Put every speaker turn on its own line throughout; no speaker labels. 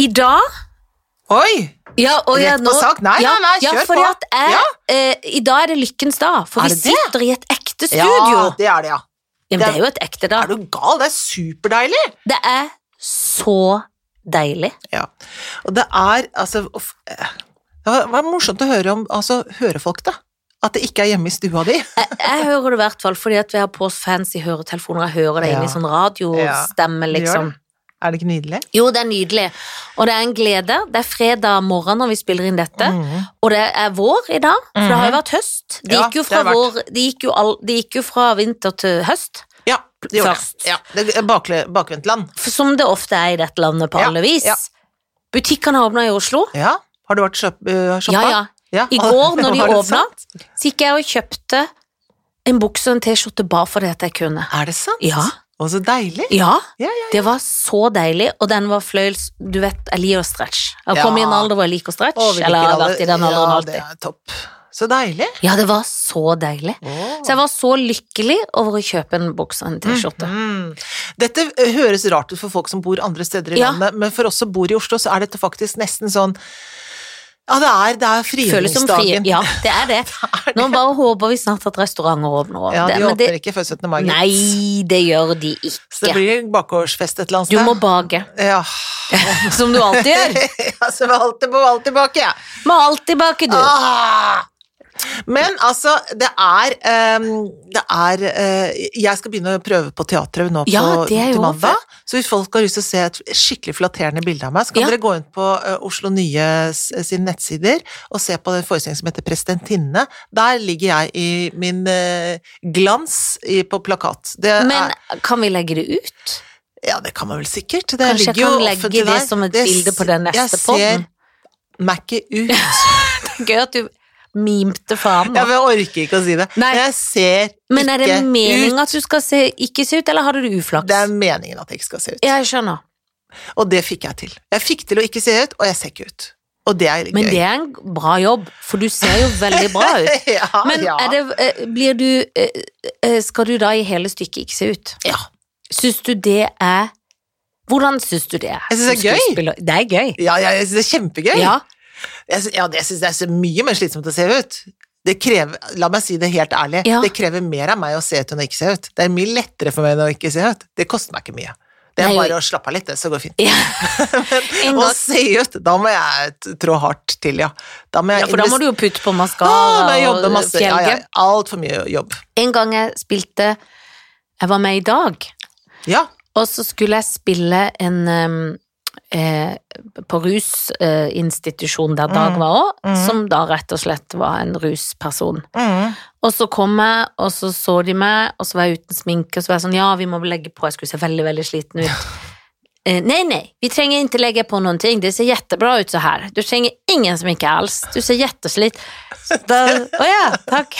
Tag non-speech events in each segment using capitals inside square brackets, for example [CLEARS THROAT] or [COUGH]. I dag
Oi!
ja, og
Rett
jeg
på
nå-
sak. Nei,
ja,
nei, nei,
ja,
kjør
fordi
på.
At jeg,
Ja.
eh, I dag er det lykkens dag, for vi
Er det det?
sitter i et ekte
Ja,
studio.
det er det, ja.
Ja, men
det-
det er jo et ekte da.
Er du gal? Det er superdeilig!
Det er så deilig.
Ja. Og det er altså uff, eh, Det var- var morsomt å høre om altså, høre folk, da. At det ikke er hjemme i stua di.
Jeg, jeg hører det i hvert fall fordi at vi har på oss fancy høretelefoner. Jeg hører det inn i
Ja.
sånn radiostemme,
Det gjør
liksom.
det. Er det ikke nydelig?
Jo, det er nydelig. Og det er en glede. Det er fredag morgen når vi spiller inn dette.
Mhm.
Og det er vår i dag, for det har jo
Mhm.
vært høst. Det
Ja,
gikk jo
det
fra,
har vært.
vår, det gikk jo all, det gikk jo fra vinter til høst,
Ja, det gjorde
Først.
det. Ja, det er bakle, bakvendtland.
for som det ofte er i dette landet på
Ja,
alle vis.
ja.
Butikkene åpna i Oslo.
Ja. Har du vært shop- eh, shoppa?
Ja, ja.
Ja.
I går
[LAUGHS]
når de
Var det
åpna,
sant?
så gikk jeg og kjøpte en bukse og en T-skjorte bare fordi at jeg kunne.
Er det sant?
Ja.
Å, så deilig.
Ja,
Ja, ja.
det var så deilig, og den var fløyels Du vet, jeg liker å stretch. Jeg
Ja.
kom i en alder hvor jeg liker å stretch,
Å, vi liker
eller jeg har
alle-
vært i den alderen
ja,
alltid.
Det er topp. Så deilig.
Ja, det var så deilig.
Åh.
Så jeg var så lykkelig over å kjøpe en bukse og en T-skjorte.
Mm. Dette eh, høres rart ut for folk som bor andre steder i
Ja.
landet, men for oss som bor i Oslo, så er dette faktisk nesten sånn Ja, det er, det er
Føles som fri.
frigjøringsdagen.
Ja, det er
[LAUGHS]
det. Nå bare håper vi snart at restauranter åpner opp.
Ja, de
Det- men
åpner
det,
ikke før 17. mai. gitt.
nei, det gjør de
Så det
ikke.
blir bakgårdsfest et eller annet
Du må
sted.
bake,
Ja. [LAUGHS]
som du alltid gjør.
ja, så var alt på alt tilbake, jeg. Ja.
Må alltid bake, du.
Ah! Men altså, det er, ehm, det er eh, Jeg skal begynne å prøve på teatret nå på,
Ja, det er jo
til mandag. Så hvis folk har lyst til å se et skikkelig flatterende bilde av meg, så kan
Ja.
dere gå inn på eh, Oslo Nye s- sine nettsider og se på den forestillingen som heter Presidentinne. Der ligger jeg i min eh, glans i, på plakat. Det
Men
er,
kan vi legge det ut?
ja, det kan man vel sikkert. Det
Kanskje jeg
ligger jo
kan legge
offentlig
det
der.
som et
Det
bilde på
s-
den neste podden.
Jeg ser Mac-et ut.
[LAUGHS] Gøy at du mimte faen.
Ja,
nå.
men jeg orker ikke å si det.
Mm. Nei.
Jeg ser
Men er
ikke
det meningen
ut.
at du skal se, ikke se ut, eller hadde du uflaks?
Det er meningen at jeg ikke skal se ut.
Ja, jeg skjønner.
Og det fikk jeg til. Jeg fikk til å ikke se ut, og jeg ser ikke ut. Og det er gøy.
Men det er en bra jobb, for du ser jo veldig bra ut.
[LAUGHS] ja,
Men
Ah, ja.
er det, eh, blir du eh, eh, Skal du da i hele stykket ikke se ut?
Ja.
Syns du det er Hvordan syns du det er?
Jeg synes det er
som
gøy.
skuespiller? Det er gøy.
Ja, ja, jeg syns det er kjempegøy.
Ja,
Jeg, sy- ja, det- jeg syns det er så mye mer slitsomt å se ut. Det krever, la meg si det helt ærlig,
Ja.
det krever mer av meg å se ut enn å ikke se ut. Det er mye lettere for meg enn å ikke se ut. Det koster meg ikke mye. Det er
Nei,
bare å slappe av litt, det, så går det fint.
Ja. En
Å
gang.
se ut, da må jeg t- trå hardt til, ja. Da må jeg
ja, for da må
invest-
du jo putte på
Ah,
maskara
da jobber
og
masse.
fjellge.
Ja, ja, Altfor mye jobb.
En gang jeg spilte Jeg var med i dag,
Ja.
og så skulle jeg spille en em, eh, På rusinstitusjon der Dag var òg,
Mhm.
som da rett og slett var en rusperson.
Mm.
Og så kom jeg, og så så de meg, og så var jeg uten sminke, og så var jeg sånn, ja, vi må vel legge på, jeg skulle se veldig, veldig sliten ut. Eh, nei, nei, vi trenger ikke legge på noen ting, det ser jättebra ut så her. Du trenger ingen sminke alls, du ser jätteslit. Så Da, å ja, takk.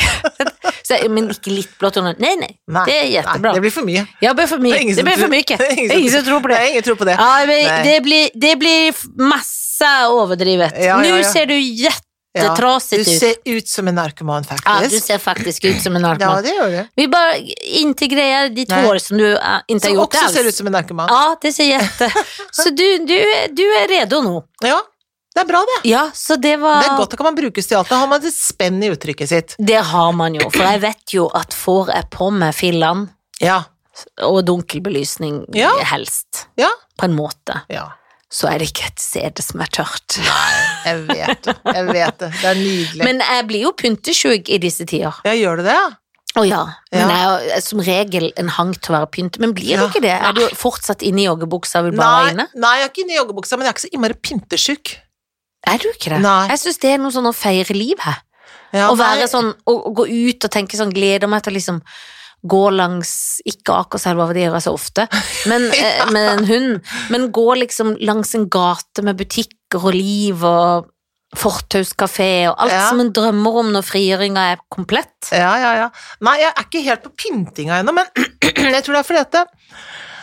Så, jeg, men ikke litt blått under. Nei, nei,
Nei,
det er
Nei,
jättebra.
det blir for mye.
Ja, det blir for
Det
mye.
er
Det
ingen som
blir for mye.
tror- [LAUGHS] Det er ingen som
som tror på det.
Nei, ingen tror på det.
Ja, men
Nei.
det blir, det blir masse overdrivet.
Ja, ja, ja.
Nå ser du
Ja,
jättetrasigt
Du
ut.
ser ut som en narkoman,
Ja, du
faktisk.
ser faktisk ut som en
Ja,
narkoman.
det gjør du.
Vi bare integrerar ditt
Nej.
hår som du eh, inte har
Som
gjort
også
alls.
ser ut som en narkoman.
Ja, det ser
[LAUGHS]
jätte... Så du, du, är- du är redo nå.
Ja, det er bra, det.
Ja, så det var...
Det er godt, da kan man brukes til alt. Da har man et spenn i uttrykket sitt.
Det har man jo, for jeg vet jo at får jeg på meg fillan
Ja.
og dunkelbelysning
Ja.
helst,
Ja.
på en måte,
ja.
så er det ikke et sted som er tørt.
Jeg vet det. Jeg vet det. Det er nydelig.
Men jeg blir jo pyntesjuk i disse tider.
ja, gjør du det? ja?
Å ja, men
Ja.
jeg er jo som regel en hang til å være pynt, men blir du
Ja.
ikke det? Er du fortsatt inne i joggebuksa og vil bare være
Nei,
inne?
nei, jeg er ikke inne i joggebuksa, men jeg er ikke så innmari pyntesjuk.
Er du ikke det?
Nei.
Jeg synes det er noe sånn å feire liv her.
Ja,
å være
nei.
sånn, å, å gå ut og tenke sånn, gleder meg til å liksom gå langs, ikke Akerselva, for det gjør jeg så ofte,
[LAUGHS]
men eh, med en hund, men gå liksom langs en gate med butikker og liv og fortauskafé og alt
Ja.
som en drømmer om når frigjøringa er komplett.
Ja, ja, ja. Nei, jeg er ikke helt på pyntinga ennå, men [CLEARS THROAT] jeg tror det er fordi at jeg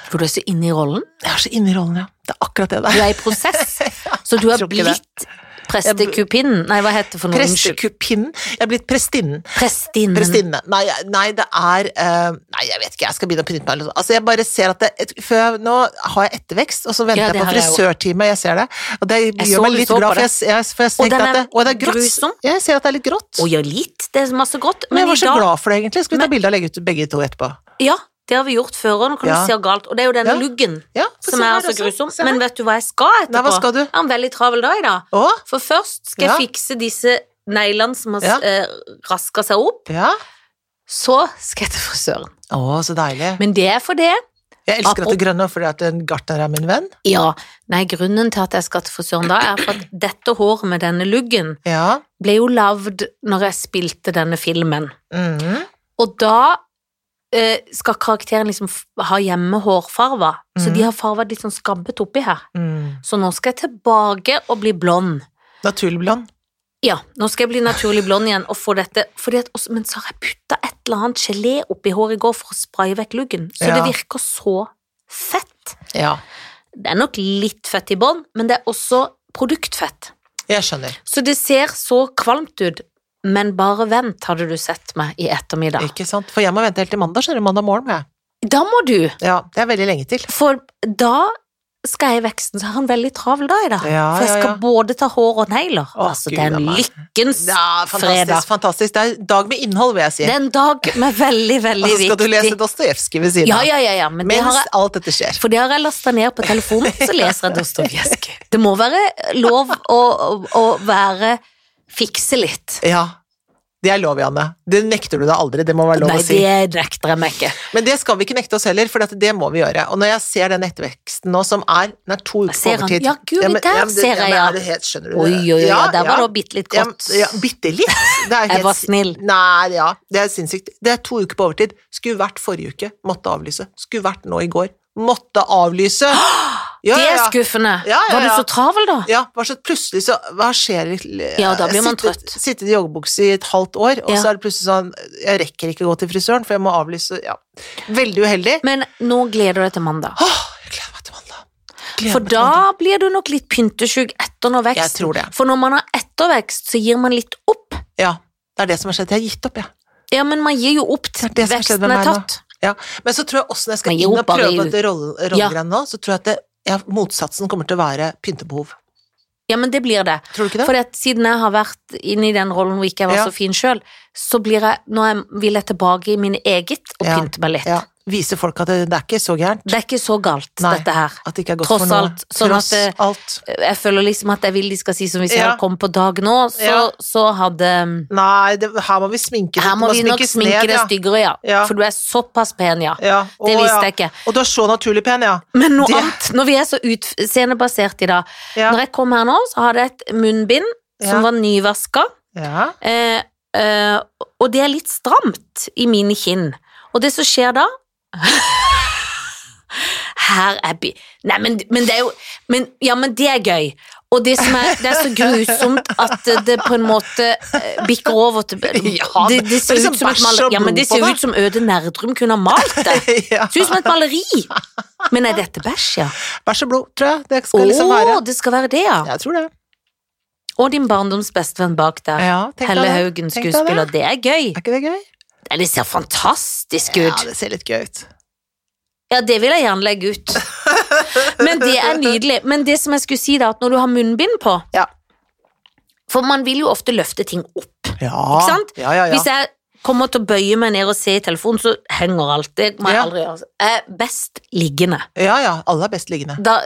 For du er så inne i rollen,
jeg er så inne i rollen, [LAUGHS] ja. Det er akkurat det
du
der.
er i prosess, så du har
tror ikke det.
blitt Prestekupinnen? Nei, hva heter det for noe? Unnskyld. Mhm.
Prestekupinnen. Jeg er blitt prestinnen.
Prestinnen.
Prestinne. Nei, jeg- nei, det er eh, Nei, jeg vet ikke, jeg skal begynne å pynte meg. eller noe sånt. Altså, jeg bare ser at det, et, før, jeg- Nå har jeg ettervekst, og så venter
Ja, det
jeg på
har jeg også.
frisørtime, jeg ser det. Og det
så
gjør meg
du
litt
så på
glad, for jeg,
det.
jeg, for jeg
Og den
tenkte at det,
er
og det er grått.
grusom.
Ja, Jeg ser at det er litt grått.
Å ja, litt. Det er masse grått.
Men jeg var
i
så
dag-
glad for det, egentlig. Skal vi ta bilde og legge ut begge to etterpå?
Ja, det har vi gjort før òg. Nå kan
Ja.
du se galt. Og det er jo denne
Ja.
luggen
Ja, for
som
se her
er så
også.
grusom.
Se her.
Men vet du hva jeg skal etterpå?
Nei, hva skal du?
Jeg har en veldig travel dag i dag.
Å?
For først skal
Ja.
jeg fikse disse neglene som har
Ja.
eh, raska seg opp.
Ja.
Så skal jeg til frisøren.
Å, så deilig.
Men det er for det.
Jeg elsker at det grønne fordi at en gartner er min venn.
Ja. Nei, grunnen til at jeg skal til frisøren da, er for at dette håret med denne luggen
Ja.
ble jo lagd når jeg spilte denne filmen.
Mhm.
Og da eh, skal karakteren liksom f- ha hjemme hårfarva, så
Mhm.
de har farva litt sånn skabbet oppi her.
Mm.
Så nå skal jeg tilbake og bli blond.
Naturlig blond.
Ja, nå skal jeg bli naturlig blond igjen og få dette. Fordi at også, men så har jeg putta et eller annet gelé oppi håret i går for å spraye vekk luggen. Så
Ja.
det virker så fett.
Ja.
Det er nok litt fett i bånn, men det er også produktfett.
Jeg skjønner.
Så det ser så kvalmt ut. Men bare vent, hadde du sett meg i ettermiddag.
Ikke sant? For jeg må vente helt til mandag, skjønner du. Mandag morgen må jeg.
Da må du!
Ja, det er veldig lenge til.
For da skal jeg i veksten, så jeg har en veldig travel dag i dag.
Ja,
for jeg
ja,
skal
ja.
både ta hår og negler.
Å,
altså,
Gud
det er
a
en
meg.
lykkens
Ja,
fredag.
fantastisk, fantastisk. Det er en dag med innhold, vil jeg si.
Det er en dag med veldig,
Og
veldig
så skal du lese
viktig
Dostojevskij ved siden
Ja,
av.
ja, ja, ja, men det
Mens
har jeg
alt dette skjer.
for det har jeg lasta ned på telefonen, så leser jeg Dostojevskij. Det må være lov å, å, å være fikse litt.
Ja. Det er lov, Janne. Det nekter du deg aldri, det må være lov
Nei,
å si.
det nekter jeg meg ikke.
Men det skal vi ikke nekte oss heller, for at det må vi gjøre. Og når jeg ser den etterveksten nå, som er Den er to uker på
Ser han?
overtid.
Ja, guri,
men-
der
men det-
ser jeg,
men
ja.
er det helt- Skjønner du
Oi, oi, oi,
Ja,
der
ja.
var det bitt litt
Ja,
godt.
ja, bitte litt. Det er
[LAUGHS] Jeg
helt
var
sin-
snill.
Nei, ja, det er sinnssykt. Det er to uker på overtid. Skulle vært forrige uke, måtte avlyse. Skulle vært nå i går, måtte avlyse.
[GASPS]
Ja,
Det
ja,
er
ja.
skuffende.
Ja, ja,
Var du
ja.
så travel, da?
Ja, bare så plutselig så Hva skjer?
Ja, da blir man trøtt.
Sittet, sittet i joggebukse i et halvt år, og
Ja.
så er det plutselig sånn Jeg rekker ikke å gå til frisøren, for jeg må avlyse. Ja. Veldig uheldig.
Men nå gleder du deg til mandag.
Åh, jeg gleder meg til mandag. Gleder
For
meg til mandag.
da blir du nok litt pyntesjuk etter når
Jeg
veksten.
tror det.
For når man har ettervekst, så gir man litt opp.
Ja, det er det som har skjedd. Jeg har gitt opp, jeg.
Ja, men man gir jo opp til
Det er det som har skjedd med
veksten er
meg nå.
tatt.
Ja. Men så tror jeg også når jeg skal
Men jo,
inn og
bare
prøve på
i-
dette rolle- rollegreiene nå, så tror jeg at det, ja, motsatsen kommer til å være pyntebehov.
Ja, men det blir det.
Tror du ikke det?
For siden jeg har vært inne i den rollen hvor ikke jeg var
Ja.
så fin sjøl, så blir jeg, nå er- vil jeg tilbake i min eget og
Ja.
pynte meg litt.
Ja. Vise folk at det, det er ikke så gærent.
Det er ikke så galt,
Nei.
dette her.
At det ikke er godt
Tross
for noe.
alt, sånn
Tross
at det-
alt.
Jeg føler liksom at jeg vil de skal si som hvis jeg
Ja.
hadde kommet på dag nå, så,
Ja.
så hadde mm,
Nei, det, her må vi sminke det.
Her må
Det
vi nok
sminkes
sminke
ned,
det
ja.
styggere, ja.
Ja.
For du er såpass pen, ja.
Ja.
Det
Å,
visste
ja.
jeg ikke.
Og du er så naturlig pen, ja.
Men noe
Det-
annet, når vi er så utseendebasert i dag
Ja.
Når jeg kom her nå, så hadde jeg et munnbind som
Ja.
var nyvaska,
ja. [LAUGHS]
eh, eh, og det er litt stramt i mine kinn. Og det som skjer da [LAUGHS] Her er bi... Nei, men, men det er jo men, Ja, men det er gøy. Og det, som er, det er så grusomt at det på en måte eh, bikker over til
[LAUGHS] Ja,
det, det ser
det er liksom
ut som et
bæsj og
maleri. Ja, men det
blod på
ser
det.
ut som Øde Nerdrum kunne ha malt det.
ja.
Ser ut som et maleri. Men er dette bæsj, ja?
Bæsj og blod, tror jeg. Det
Å,
skal liksom være
det skal være det, ja.
Jeg tror det.
Og din barndoms bestevenn bak der.
Ja, tenk deg
Helle
det.
Haugen,
Tenk deg
skuespiller.
det.
Det er gøy.
Er ikke det gøy?
Nei, Det ser fantastisk
Ja,
ut.
det ser litt gøy ut.
Ja, det vil jeg gjerne legge
[LAUGHS]
ut. Men det er nydelig. Men det som jeg skulle si, da, at når du har munnbind på
Ja.
For man vil jo ofte løfte ting opp.
Ja.
Ikke sant?
Ah, Ja, ja, ja.
Hvis jeg kommer til å bøye meg ned og se i telefonen, så henger alt. Det må jeg
Ja.
aldri gjøre. Jeg er best liggende.
ja, ja. Alle er best liggende.
da,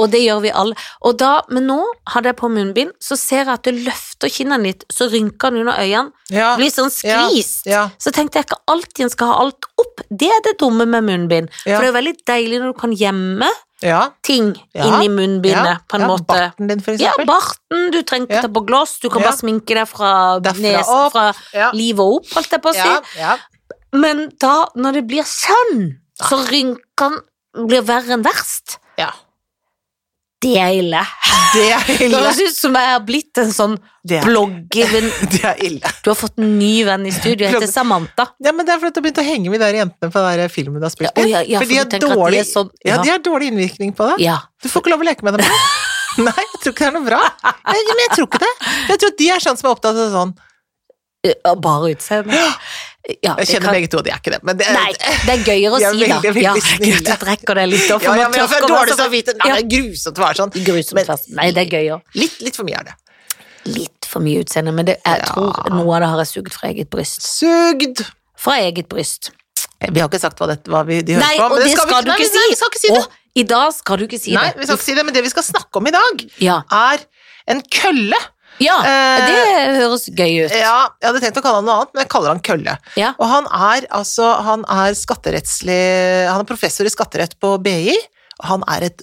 og det gjør vi alle. Og da, men nå hadde jeg på munnbind, så ser jeg at det løfter kinnene litt, så rynker den under øynene,
Ja.
blir sånn
Ah, Ja,
skvist.
ja.
Så tenkte jeg ikke alltid en skal ha alt opp. Det er det dumme med munnbind.
Ja.
For det er veldig deilig når du kan gjemme
ja.
ting
Ja.
inni munnbindet,
ja.
på en
ja.
måte.
Barten din, for
Ja,
eksempel.
barten, du trenger ikke
Ja.
ta på gloss, du kan
Ja.
bare sminke deg fra
Derfra
nesen,
opp.
fra
Ja.
livet opp, holdt jeg på å si.
Ja, ja.
Men da, når det blir sånn,
Ah.
så rynkene blir verre enn verst.
ja.
Det er ille.
Det er
Det
ille.
høres ut som jeg har blitt en sånn
Det er,
bloggevenn.
det er ille.
Du har fått en ny venn i studio, heter Samantha.
Ja, men det er fordi du har begynt å henge med de der jentene på den der filmen du har spilt
Ja, å,
inn.
ja, ja, for
for de
du
har
tenker at de
dårlig,
er sånn-
ja,
ja.
de har dårlig innvirkning på deg.
Ja. [LAUGHS]
Du får ikke lov å leke med dem. Nei, jeg tror ikke det er noe bra. Jeg, men jeg tror ikke det. Jeg tror de er sånn som er opptatt av sånn.
Eh, Bare utseende. Ja,
Jeg
det
kjenner
kan-
begge to, de er ikke det. Men det,
Nei, det er gøyere å
De er
si, da.
veldig, veldig
ja,
snille.
Gud, jeg trekker det litt opp.
ja, ja, men jeg får dårlig
så
samvittighet. Nei, det er grusomt å være sånn. Men-
Grusomt fest. Nei, det er gøyere.
Litt, litt for mye er det.
Litt for mye utseende, men det, jeg
Ja.
tror noe av det har jeg sugd fra eget bryst.
Sugd!
Fra eget bryst.
Vi har ikke sagt hva, dette, hva vi, de hører
Nei,
på,
og det skal du
nei,
ikke
vi- Nei, vi skal ikke si
si!
det.
Å, I dag skal du ikke si
Nei, vi
det.
skal ikke si det, men det vi skal snakke om i dag,
Ja,
er en kølle.
ja
Eh,
det høres gøy ut.
Ja, jeg hadde tenkt å kalle han noe annet, men jeg kaller han kølle.
Ja.
Og han er altså, han er skatterettslig Han er professor i skatterett på BI, og han er et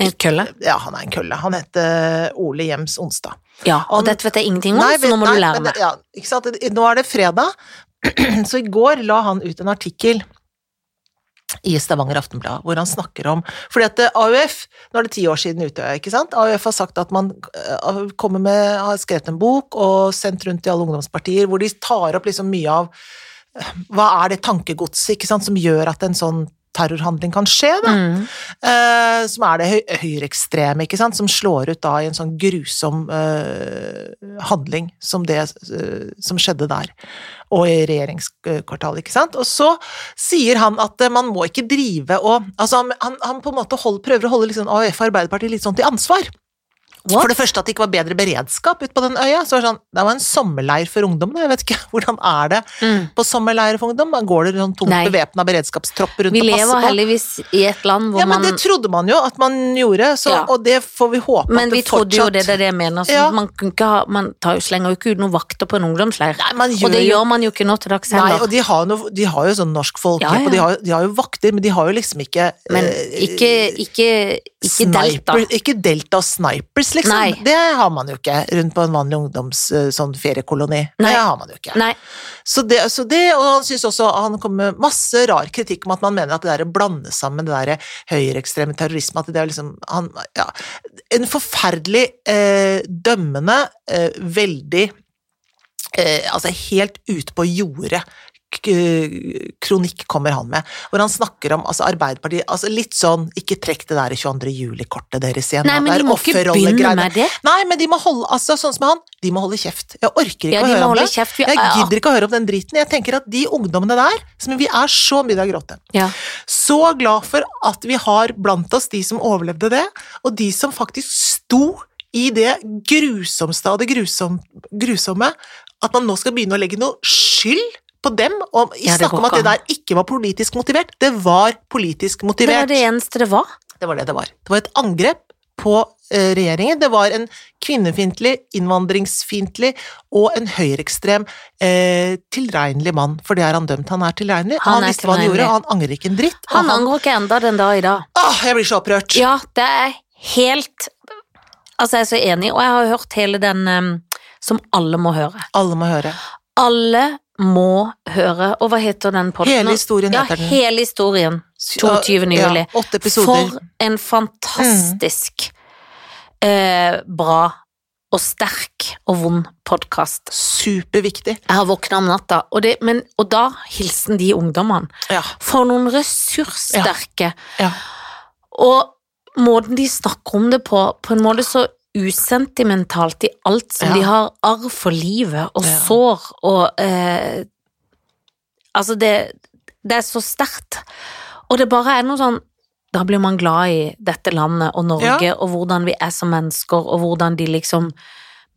En kølle.
Ja, han er en kølle. Han heter Ole Gjems Onsdag.
Ja, og
Han-
dette vet jeg ingenting om, så nå må
nei,
du lære
men
meg.
det- Ja, ikke sant? Nå er det fredag, [CLEARS THROAT] så i går la han ut en artikkel i Stavanger Aftenblad, hvor han snakker om Fordi at eh, AUF Nå er det ti år siden Utøya, ikke sant? AUF har sagt at man eh, kommer med Har skrevet en bok og sendt rundt til alle ungdomspartier, hvor de tar opp liksom mye av eh, Hva er det tankegodset ikke sant, som gjør at en sånn terrorhandling kan skje, da?
Mm.
Eh, som er det høy høyreekstreme, ikke sant, som slår ut da i en sånn grusom eh, handling som det eh, som skjedde der, og i regjeringskvartalet, ikke sant. Og så sier han at eh, man må ikke drive og Altså, han, han, han på en måte hold, prøver å holde liksom AUF og Arbeiderpartiet litt sånn til ansvar.
What?
For det første at det ikke var bedre beredskap ute på den øya. så var Det sånn, det var en sommerleir for ungdom, da. Jeg vet ikke [LAUGHS] hvordan er det
Mm.
på sommerleir for ungdom? Går det sånn tomt
Nei.
bevæpna beredskapstropper rundt
Vi
og
lever
passer på?
heldigvis i et land hvor
Ja, men
man
det trodde man jo at man gjorde, så,
Ja.
og det får vi håpe
Men
at
vi
det
trodde
fortsatt
jo det, det er det jeg mener. Så
Ja.
man, kan ikke ha, man tar jo, slenger jo ikke ut noen vakter på en ungdomsleir.
Nei,
og
man
det
gjør jo-
gjør man jo ikke nå til dags
Nei,
heller.
og de har, noe, de har jo sånn norsk folk,
Ja, ja.
og de har, de har jo vakter, men de har jo liksom ikke
Men
eh,
ikke, ikke, ikke delta.
sniper- Ikke delta og snipers, liksom.
Nei.
Det har man jo ikke rundt på en vanlig ungdoms eh, sånn feriekoloni.
Nei.
Det har man jo ikke.
Nei,
Så det, så det, og han synes også han kommer med masse rar kritikk om at man mener at det der å blande sammen det der høyreekstreme terrorisme at det er liksom han, ja, En forferdelig eh, dømmende, eh, veldig eh, Altså helt ute på jordet k- eh, kronikk kommer han med, hvor han snakker om altså Arbeiderpartiet altså Litt sånn Ikke trekk det der 22. juli-kortet deres igjen.
Nei
at
men
det
de
er
må ikke
offerrollegreiene.
begynne med det.
Nei, men de må holde altså sånn som han, de må holde kjeft. Jeg orker ikke
Ja,
å
de
høre
må
om
holde
det.
kjeft. Vi-
Jeg gidder ikke å høre om den driten. Jeg tenker at de ungdommene der, som vi er så mye av gråte.
Ja.
Så glad for at vi har blant oss de som overlevde det, og de som faktisk sto i det grusomste av det grusom, grusomme, at man nå skal begynne å legge noe skyld på dem, og
Ja, det
snakke
går
om at
ikke
det der ikke var politisk motivert. Det var politisk
Det var
motivert.
det eneste det var.
Det var det det var. Det var et angrep på eh, regjeringen. Det var en kvinnefiendtlig, innvandringsfiendtlig og en høyreekstrem eh, tilregnelig mann, for det er han dømt. Han er tilregnelig.
Han
Han,
er
visste hva han
tilregnelig.
gjorde, og han angrer ikke en dritt. og
Han angrer ikke enda den dag i dag.
Åh, jeg blir så opprørt!
Ja, det er helt Altså, jeg er så enig, og jeg har hørt hele den em, som alle må høre.
Alle må høre.
Alle må høre. Og hva heter den podden?
Hele historien
ja,
heter den.
hele historien. 22.
Ja,
juli.
åtte episoder.
For en fantastisk eh, bra og sterk og vond podkast.
Superviktig.
Jeg har våkna om natta, og, det, men, og da hilsen de ungdommene.
Ja.
For noen ressurssterke.
Ja.
Og måten de snakker om det på, på en måte så usentimentalt i alt som
Ja.
de har arv for livet, og
Ja.
sår og eh, Altså, det, det er så sterkt. Og det bare er noe sånn Da blir man glad i dette landet og Norge, og hvordan vi er som mennesker, og hvordan de liksom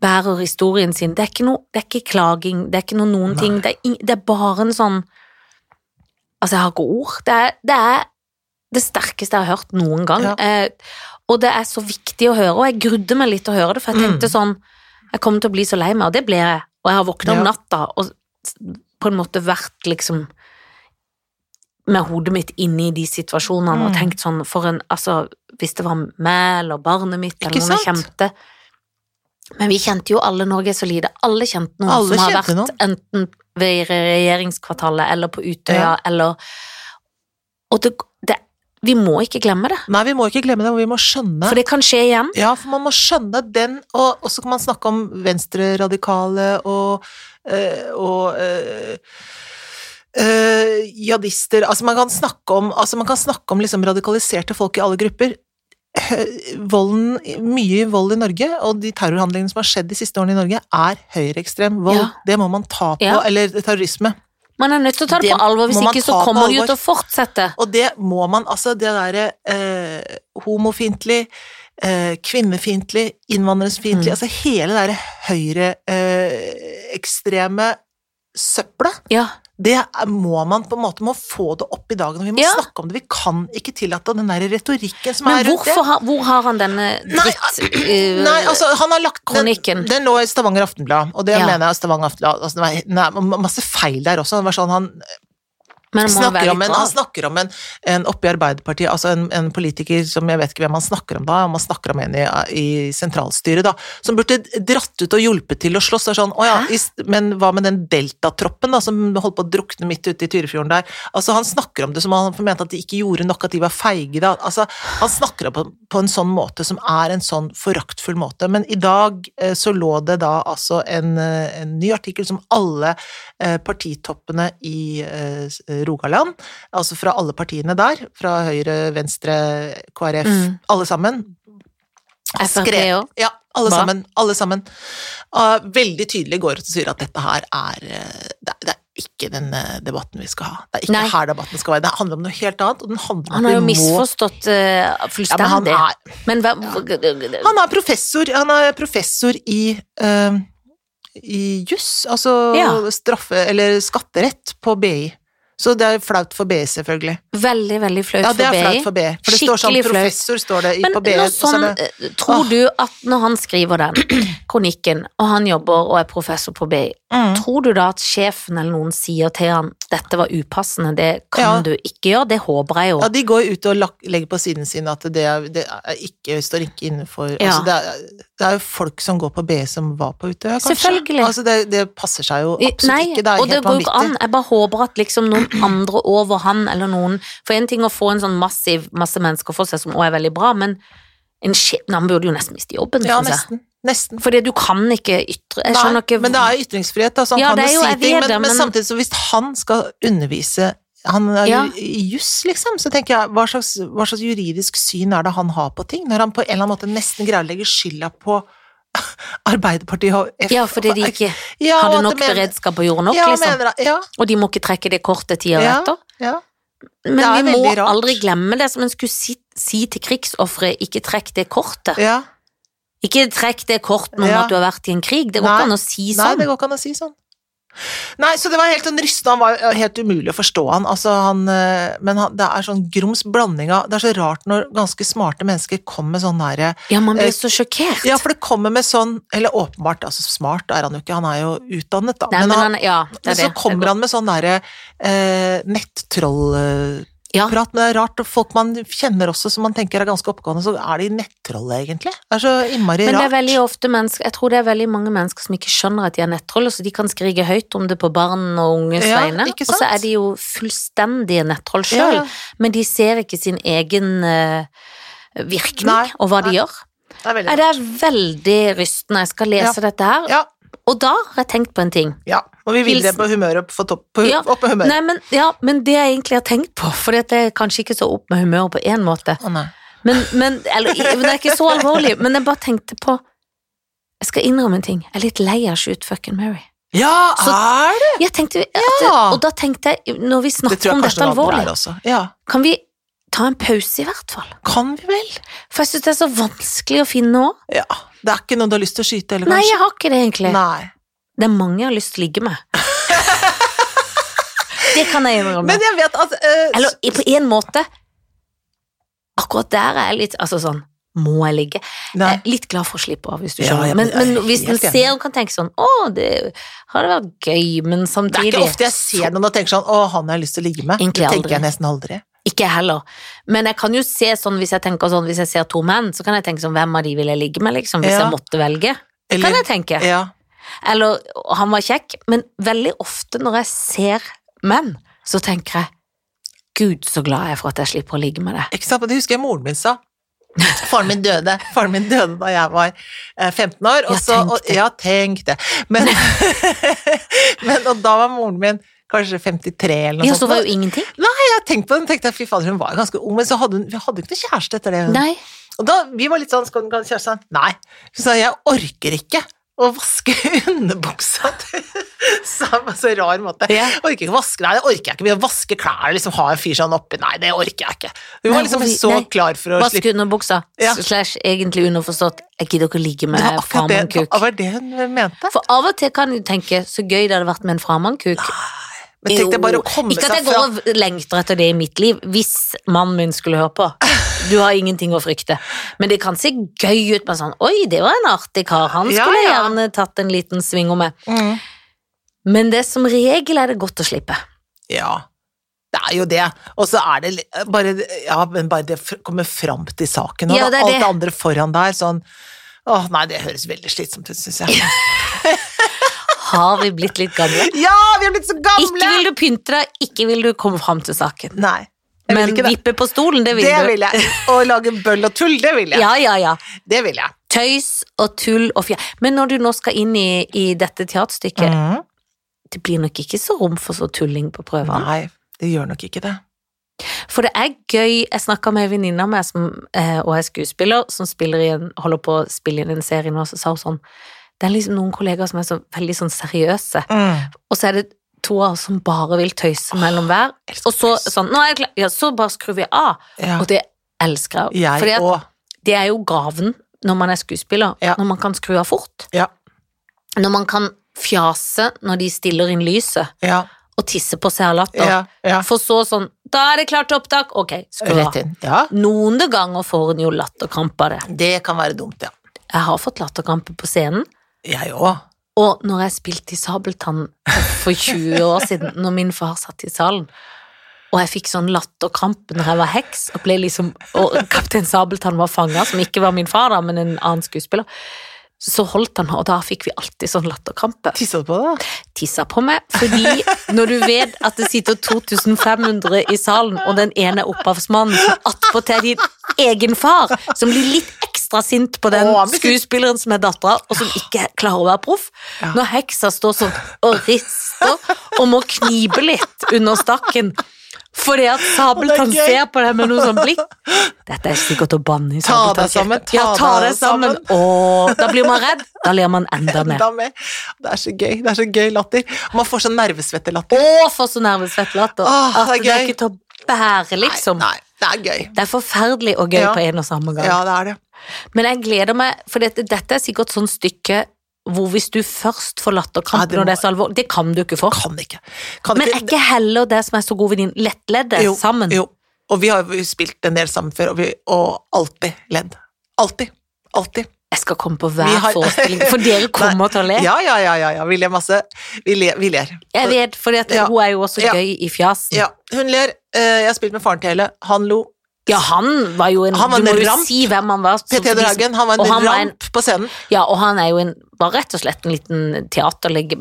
bærer historien sin. Det er ikke, noe, det er ikke klaging, det er ikke noe noen
Nei.
ting. Det er, ing- det er bare en sånn Altså, jeg har ikke ord. Det er det, er det sterkeste jeg har hørt noen gang.
Ja.
Eh, og det er så viktig å høre, og jeg grudde meg litt til å høre det, for
Mm.
jeg tenkte sånn Jeg kommer til å bli så lei meg, og det ble jeg. Og jeg har våkna om
Ja.
natta og s- på en måte vært liksom med hodet mitt inne i de situasjonene og
Mm.
tenkt sånn for en, altså, Hvis det var meg eller barnet mitt eller
Ikke
noen jeg
sant?
kjente Men vi kjente jo alle Norge er så lite. Alle kjente noen
Alle
som har
kjente
vært enten ved regjeringskvartalet eller på Utøya
Ja.
eller Og det, det Vi må ikke glemme det,
Nei, vi må ikke glemme det, og vi må skjønne
for det kan skje igjen.
Ja, for man må skjønne den, og, og så kan man snakke om venstreradikale og, eh, og eh, eh, jihadister Altså, man kan snakke om, altså man kan snakke om liksom radikaliserte folk i alle grupper. hø- volden, mye vold i Norge, og de terrorhandlingene som har skjedd de siste årene i Norge, er høyreekstrem vold.
Ja.
Det må man ta på.
Ja.
Eller terrorisme.
Man er nødt til å ta det,
Det
på alvor, hvis
må man
ikke
ta
så
på
kommer det jo
alvor.
til å fortsette.
Og det må man, altså det derre eh, homofiendtlig, eh, kvinnefiendtlig, innvandrersfiendtlig,
Mm.
altså hele det derre høyreekstreme eh, ekstreme søppelet,
Ja,
det er- må man på en måte må få det opp i dagen, og vi må
Ja.
snakke om det. Vi kan ikke tillate den derre retorikken som
Men
er rundt det. ah,
hvorfor, har- hvor har han denne eh, drittkronikken?
Nei, altså, han har lagt den,
kronikken?
den lå i Stavanger Aftenblad, og det
Ja.
mener jeg Stavanger Aftenblad altså, det var- Nei, masse feil der også. Det var sånn, han,
Men det må jo være
snakker om
litt
en,
bra.
han snakker om en, en oppe i Arbeiderpartiet, altså en, en politiker som jeg vet ikke hvem han snakker om da, om han snakker om en i, i sentralstyret da, som burde dratt ut og hjulpet til å slåss. Det er Sånn, «Å ja,
Hæ?
i st- men hva med den deltatroppen da, som holdt på å drukne midt ute i Tyrifjorden der? Altså, han snakker om det som om han mente at de ikke gjorde nok, at de var feige da. Altså, han snakker om det på, på en sånn måte som er en sånn foraktfull måte. Men i dag eh, så lå det da altså en, eh, en ny artikkel som alle eh, partitoppene i eh, s- Rogaland, altså fra alle partiene der, fra Høyre, Venstre, KrF,
Mm.
alle sammen,
Frp
skrev-
òg.
Ja, alle
Hva?
sammen. Alle sammen. Ah, veldig tydelig går ut og sier at dette her er eh, det, er- det er ikke den eh, debatten vi skal ha. Det er ikke
Nei.
her debatten skal være. Det handler om noe helt annet, og den handler
Han
om
har jo
at vi må
misforstått eh,
ja, men han,
fullstendig.
er,
Men hva
han er professor Han er professor i eh, i juss, altså
Ja.
straffe eller skatterett på BI. Så det er flaut for BI, selvfølgelig.
Veldig, veldig flaut
Ja, det er flaut
for BI.
for BI. For det står sånn
Skikkelig flaut.
professor, står det i,
Men
på BI.
nå
og så er
sånn,
det-
eh, tror
Åh.
du at når han skriver den kronikken, og han jobber og er professor på BI,
Mm.
tror du da at sjefen eller noen sier til han dette var upassende, det kan
Ja.
du ikke gjøre, det håper jeg jo.
Ja, de går ut og lak- legger på siden sin at det, er, det er ikke, står ikke innenfor
Ja.
altså, det, er, det er jo folk som går på BE som var på Utøya, kanskje.
Selvfølgelig.
Altså, det, det passer seg jo absolutt
Nei,
ikke. Det er
og det
helt
går jo ikke an.
vanvittig.
Jeg bare håper at liksom noen andre over han eller noen For en ting å få en sånn massiv masse mennesker for seg som også er veldig bra, men en sjef Nei, han burde jo nesten miste jobben,
Ja,
synes jeg.
nesten. Nesten.
Fordi du kan ikke ytre Jeg skjønner
Nei,
ikke
Men det er jo ytringsfrihet, da, så han
Ja,
kan
det er
jo
jo-
si
jeg
ting.
vet
Men,
det,
men
men-
samtidig, så hvis han skal undervise han er jo
Ja.
i juss, liksom, så tenker jeg hva slags, hva slags juridisk syn er det han har på ting, når han på en eller annen måte nesten greier å legge skylda på [LAUGHS] Arbeiderpartiet og F...
Ja, fordi de ikke
[LAUGHS] Ja, og
hadde
at
nok
det mener-
beredskap og gjorde nok,
ja,
liksom.
mener jeg- ja,
Og de må ikke trekke det kortet tida
Ja.
etter.
ja.
Men
Det
vi
er
må
veldig rart.
aldri glemme det som en skulle si, si til krigsofre, ikke trekk det kortet. [LAUGHS]
Ja.
Ikke trekk det kortet om
Ja.
at du har vært i en krig. Det går
Nei.
ikke an å si
Nei,
sånn.
det går ikke an å si sånn. Nei, så det var helt sånn rystende, han var jo helt umulig å forstå han, altså han, eh, men han, det er sånn grums blanding av, det er så rart når ganske smarte mennesker kommer med sånn derre
Ja, man
Eh,
blir så sjokkert.
Ja, for det kommer med sånn, eller åpenbart, altså smart er han jo ikke, han er jo utdannet da,
Nei, men han, ja, det
men
er det.
så kommer han med sånn derre eh,
Ja.
nettroll-prat, men det er rart, og folk man kjenner også som man tenker er ganske oppegående, så er de nettroll egentlig. Det er så innmari
Men det er
rart.
veldig ofte mennesker Jeg tror det er veldig mange mennesker som ikke skjønner at de er nettroller, så de kan skrike høyt om det på barn og unges
Ja,
vegne.
ikke
Og så
sant?
er de jo fullstendige nettroll
Ja,
sjøl,
ja.
men de ser ikke sin egen eh, virkning
Nei,
og hva de
nei.
gjør.
Det er
Nei,
veldig
det er veldig rystende. Jeg skal lese dette her.
Ja,
Og da har jeg tenkt på en ting.
ja. Må vi videre
Hilsen.
på humøret, på topp, på,
Ja.
opp med humøret.
Nei, men, ja, men det jeg egentlig har tenkt på, for dette er kanskje ikke så opp med humøret på én måte,
Å nei.
Men, men eller, det er ikke så alvorlig, men jeg bare tenkte på Jeg skal innrømme en ting. Jeg er litt lei av Shoot Fucking Mary.
Ja, er det?
Jeg tenkte, at,
Ja.
Og da tenkte jeg, når vi
Det
snakker
tror
om
jeg
dette
kanskje noen
alvorlig,
andre er også. Ja.
kan vi ta en pause, i hvert fall?
Kan vi vel?
For jeg syns det er så vanskelig å finne nå.
Ja. Det er ikke noen du har lyst til å skyte, eller
Nei,
kanskje?
jeg har ikke det, egentlig.
Nei.
Det er mange jeg har lyst til å ligge med. det kan jeg innrømme.
Men jeg vet at eh,
Eller i- på en måte Akkurat der er jeg litt Altså sånn Må jeg ligge?
nei.
Jeg er litt glad for å slippe av, hvis du
Ja,
skjønner.
jeg-
men,
jeg er
men hvis en
helt enig.
ser og kan tenke sånn Å, det hadde vært gøy, men
Det er
samtidig
ikke ofte jeg ser noen og tenker sånn Å, han har jeg lyst til å ligge med.
Egentlig
det
aldri.
tenker jeg nesten aldri.
Ikke jeg heller. Men jeg kan jo se sånn hvis jeg tenker sånn Hvis jeg ser to menn, så kan jeg tenke sånn Hvem av de vil jeg ligge med, liksom? Hvis
Ja.
jeg måtte velge. kan jeg tenke.
ja.
Eller «Å, han var kjekk. Men veldig ofte når jeg ser menn, så tenker jeg Gud, så glad jeg er for at jeg slipper å ligge med det.
Ikke sant? Men Det husker jeg moren
[LAUGHS]
min sa. Faren min døde Faren min døde da jeg var eh, 15 år. Og
Ja,
så,
tenk
og,
det.
ja, tenk det.
[LAUGHS]
Men, [LAUGHS] men og da var moren min kanskje 53 eller noe
Ja,
sånt.
så var jo ingenting.
jeg tenkte på den, tenkte jeg, fy fader, hun var jo ganske ung, men så hadde hun, vi hadde jo ikke noe kjæreste etter det. Hun.
Nei.
Og da, vi var litt sånn, skal den kjæreste sånn, nei. Hun sa, jeg orker ikke å vaske [LAUGHS] underbuksa [LAUGHS] til Sam på så rar måte.
Ja.
Jeg orker ikke å vaske, nei, det orker jeg ikke. Vi å vaske klær, liksom ha en fyr sånn oppi, nei, det orker jeg ikke. Hun
Nei,
var liksom
hvorfor-
så
nei.
klar for å
Vask
slippe.
under buksa.
Ja.
Slash egentlig underforstått. Jeg gidder ikke å ligge med
Det var akkurat det, det
framannekuk.
var det hun mente.
For av og til kan du tenke så gøy det hadde vært med en framannekuk.
Men tenk deg bare å
Jo,
komme
Ikke at jeg
seg
går
fra.
og lengter etter det i mitt liv, hvis mannen min skulle høre på. Du har ingenting å frykte. Men det kan se gøy ut med sånn Oi, det var en artig kar. Han
Ja,
skulle jeg
ja.
gjerne tatt en liten sving med.
Mm.
Men det som regel er det godt å slippe.
Ja, det er jo det. Og så er det li- bare, ja, men bare det fr- kommer fram til saken, og
Ja, det
da,
er
alt
det.
det andre foran der, sånn, åh nei, det høres veldig slitsomt ut, synes jeg.
Har vi blitt litt gamle?
Ja, vi er blitt så
Ikke
gamle!
vil du pynte deg, ikke vil du komme fram til saken.
Nei, jeg
Men
vil ikke det.
vippe på stolen, det vil
Det
du.
vil jeg. Å lage bøll og tull, det vil jeg.
Ja, ja, ja.
Det vil jeg.
Tøys og tull og fjer... Men når du nå skal inn i, i dette teaterstykket,
Mhm.
det blir nok ikke så rom for så tulling på prøvene.
Nei, det gjør nok ikke det.
For det er gøy Jeg snakka med ei venninne av meg som eh, og er skuespiller, som spiller i en, holder på å spille inn en serie nå, så sa hun sånn Det er liksom noen kollegaer som er så veldig sånn seriøse, og så er det to av oss som bare vil tøyse mellom hver,
elsker
og så
tøys.
sånn Nå er jeg klar! Ja, så bare skrur vi av.
Ja.
Og det elsker jeg.
Jeg
Fordi at
og
det er jo gaven når man er skuespiller,
Ja.
når man kan skru av fort.
Ja.
Når man kan fjase når de stiller inn lyset,
Ja,
og tisse på seg av latter.
ja, ja.
For så sånn Da er det klart til opptak! Ok, skru av.
Rett inn. Ja,
Noen ganger får en jo latterkrampe av det.
det kan være dumt, ja.
Jeg har fått latterkrampe på scenen.
Jeg og.
Og når jeg spilte i Sabeltann for 20 år siden, når min far satt i salen, og jeg fikk sånn latterkrampe når jeg var heks, og, ble liksom, og kaptein Sabeltann var fanga, som ikke var min far, da, men en annen skuespiller, så holdt han, og da fikk vi alltid sånn latterkrampe.
Tisset på det?
Tissa på meg, fordi når du vet at det sitter 2500 i salen, og den ene er opphavsmannen, som attpåtil er din egen far, som blir litt ekstra sint på den
Å, han blir sint.
skuespilleren som er dattera, og som ikke klarer å være proff.
Ja.
Når heksa står sånn og rister og må knipe litt under stakken. Fordi at Sabeltann
Det er gøy.
ser på deg med noe sånn blikk. Dette er sikkert å banne i
Ta deg
Sabeltann-kirken.
sammen, ta
ja, ta
deg
deg sammen. Åh, da blir man redd. Da ler man enda mer.
Enda mer. Det er så gøy. Det er så gøy latter. Man får sånn nervesvettelatter.
Å, for så nervesvett latter.
Åh,
At
det er
det er
gøy.
ikke til å bære, liksom.
Nei, nei, det er gøy.
Det er forferdelig og gøy
Ja.
på en og samme gang.
Ja, det er det.
Men jeg gleder meg, for dette, dette er sikkert sånn stykke hvor hvis du først får
Ja,
latterkrampe
det
når
må-
det er så alvorlig Det kan du ikke få.
Kan ikke. Kan
Men er ikke heller det som er så god venninne, lettleddet
Jo,
sammen?
Jo. Og vi har jo spilt en del sammen før, og, vi, og alltid ledd. Alltid. Alltid.
Jeg skal komme på
Vi
hver
har-
forestilling,
[LAUGHS]
for dere kommer til å le.
Ja, ja, ja, ja, ja. Vi ler masse. Vi ler. Vi ler.
Jeg vet, for
Ja.
hun er jo også
Ja.
gøy i fjasen. Ja,
Ja, hun ler. Eh, Jeg har spilt med faren til Hele. Han lo.
han var jo en
Han var
Du må
en
jo
ramp.
si hvem han var. så-
PT
for de som-
Dragen, han var
og
en
han var en-
ramp på scenen.
Ja, og han er jo en, var rett og slett en liten teaterleg-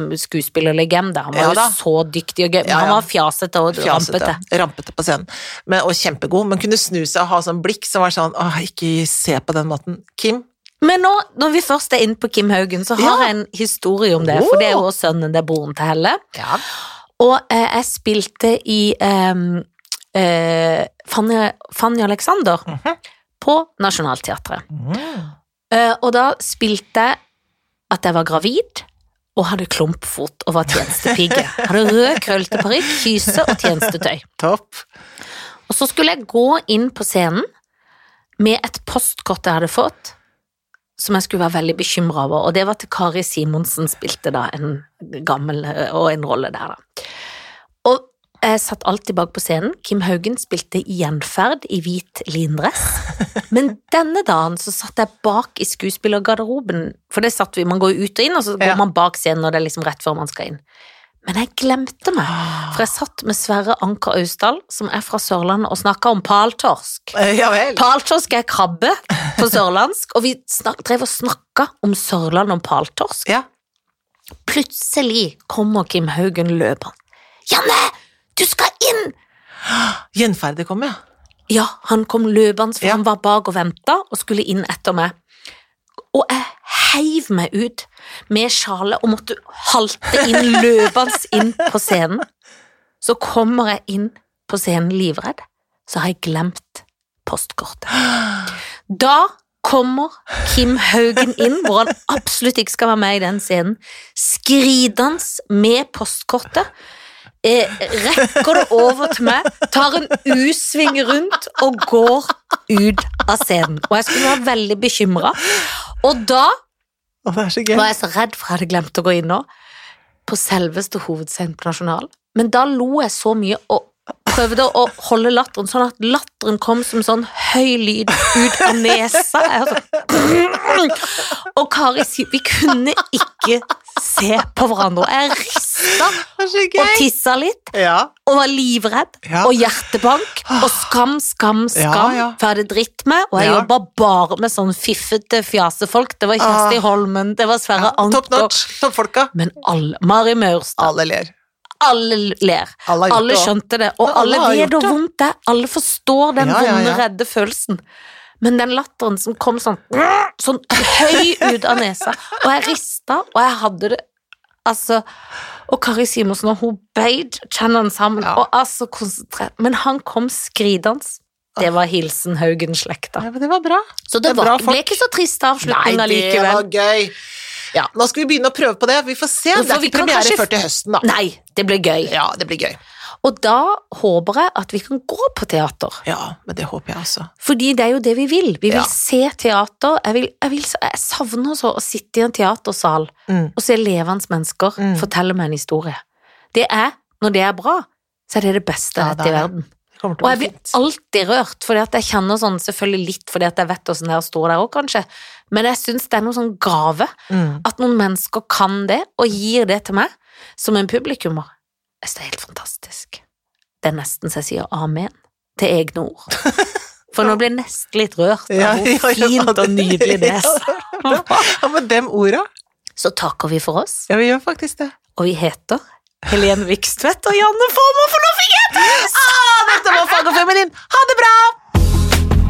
skuespillerlegende. Han var
Ja
jo
da.
så dyktig og gøy, men
Ja,
han
ja.
var fjasete og rampete.
Fjasete. Rampete på scenen. Men, og kjempegod, men kunne snu seg og ha sånn blikk som var sånn åh, ikke se på den måten. Kim,
Men nå, når vi først er inne på Kim Haugen, så har
Ja. Oh.
jeg en historie om det.
Åh.
For det er jo også sønnen, det er broren til Helle.
ja.
Og eh, jeg spilte i ehm, eh, Fanny, Fanny Alexander på Nationaltheatret.
Mm.
Eh, og da spilte jeg at jeg var gravid og hadde klumpfot og var tjenestepike. Hadde rød, krøllete parykk, kyse og tjenestetøy.
Topp.
Og så skulle jeg gå inn på scenen med et postkort jeg hadde fått, som jeg skulle være veldig bekymra over, og det var til Kari Simonsen spilte da en gammel eh, og en rolle der, da. Og jeg satt alltid bak på scenen. Kim Haugen spilte i gjenferd i hvit lindress. Men denne dagen så satt jeg bak i skuespillergarderoben, for det satt vi, man går jo ut og inn, og så går
Ja.
man bak scenen, og det er liksom rett før man skal inn. Men jeg glemte meg. For jeg satt med Sverre Anker Austdal, som er fra Sørlandet, og snakka om paltorsk.
Eh, Ja vel.
Paltorsk er krabbe på sørlandsk, og vi snak, drev og snakka om Sørlandet og paltorsk.
Ja.
Plutselig kommer Kim Haugen løpende. Janne, du skal inn!
Gjenferdet kom, ja.
Ja, han kom løpende, for
Ja.
han var bak og venta, og skulle inn etter meg. Og jeg heiv meg ut med sjalet og måtte halte inn løpende inn på scenen. Så kommer jeg inn på scenen livredd, så har jeg glemt postkortet. Da kommer Kim Haugen inn, hvor han absolutt ikke skal være med i den scenen. Skridans med postkortet. Eh, rekker det over til meg, tar en U-sving rundt og går ut av scenen. Og jeg skulle være veldig bekymra. Og da
Å, det er så gøy.
var jeg så redd for jeg hadde glemt å gå inn nå, på selveste hovedscenen på Nasjonal. Men da lo jeg så mye og prøvde å holde latteren, sånn at latteren kom som sånn høy lyd ut av nesa. Jeg var sånn Og Kari sier Vi kunne ikke se på hverandre. Jeg rista
Det er så
og
gøy.
tissa litt.
Ja.
Og var livredd,
Ja.
og hjertebank, og skam, skam,
Ja,
skam.
ja.
For jeg hadde dritt med, og jeg
Ja.
jobba bare med sånn fiffete fjasefolk. Det var Kjersti
Ah.
Holmen, det var Sverre Anker.
Top notch. Toppfolka.
Men alle, Mari Maurstad,
Alle ler.
alle ler.
Alle, har gjort
Alle
det også.
skjønte det, og
Men alle
alle
har
vet
gjort
hvor
det.
vondt det er. Alle forstår den
Ja, ja,
vonde,
ja.
redde følelsen. Men den latteren som kom sånn, sånn høy ut av nesa, og jeg rista, og jeg hadde det Altså, og Kari Simonsen, og hun beit tennene sammen,
Ja.
og altså konsentrert Men han kom skridende. Det var hilsen Haugen-slekta.
Ja, men det var bra.
Så
det
det,
er
var,
bra
ikke- ble
folk.
ikke så trist avslutning
det
allikevel.
var gøy.
Ja.
Nå skal vi begynne å prøve på det. Vi får se.
Ja,
Det
for
er
vi
ikke
kan
premiere
kanskje-
før til høsten, da.
Nei, det ble gøy.
Ja, det blir gøy.
Og da håper jeg at vi kan gå på teater.
Ja, men det håper jeg også.
Fordi det er jo det vi vil. Vi vil
Ja.
se teater. Jeg, vil, jeg, vil, jeg savner så å sitte i en teatersal
Mm.
og se levende mennesker
Mm.
fortelle meg en historie. Det er, når det er bra, så er det det beste
Ja,
jeg
det
vet i
er det.
verden.
Det kommer
Og
til å
jeg
bli
blir
fint.
alltid rørt, fordi at jeg kjenner sånn selvfølgelig litt fordi at jeg vet åssen det er å stå der òg, kanskje, men jeg syns det er noen sånn gave
Mm.
at noen mennesker kan det, og gir det til meg som en publikummer. Jeg synes det er helt fantastisk. Det er nesten så jeg sier amen til egne ord.
[LAUGHS]
For nå ble jeg nesten litt rørt av
Ja, ja,
hvor
ja,
fint og
det- [LAUGHS]
nydelig det
Ja,
er.
[LAUGHS] Ja, men dem orda.
Så takker vi for oss,
Ja, vi gjør faktisk det.
og vi heter Helene Vikstvedt og Janne Formoe, for nå fikk jeg et hus!
Ah, dette var Fag og Feminin. Ha det bra!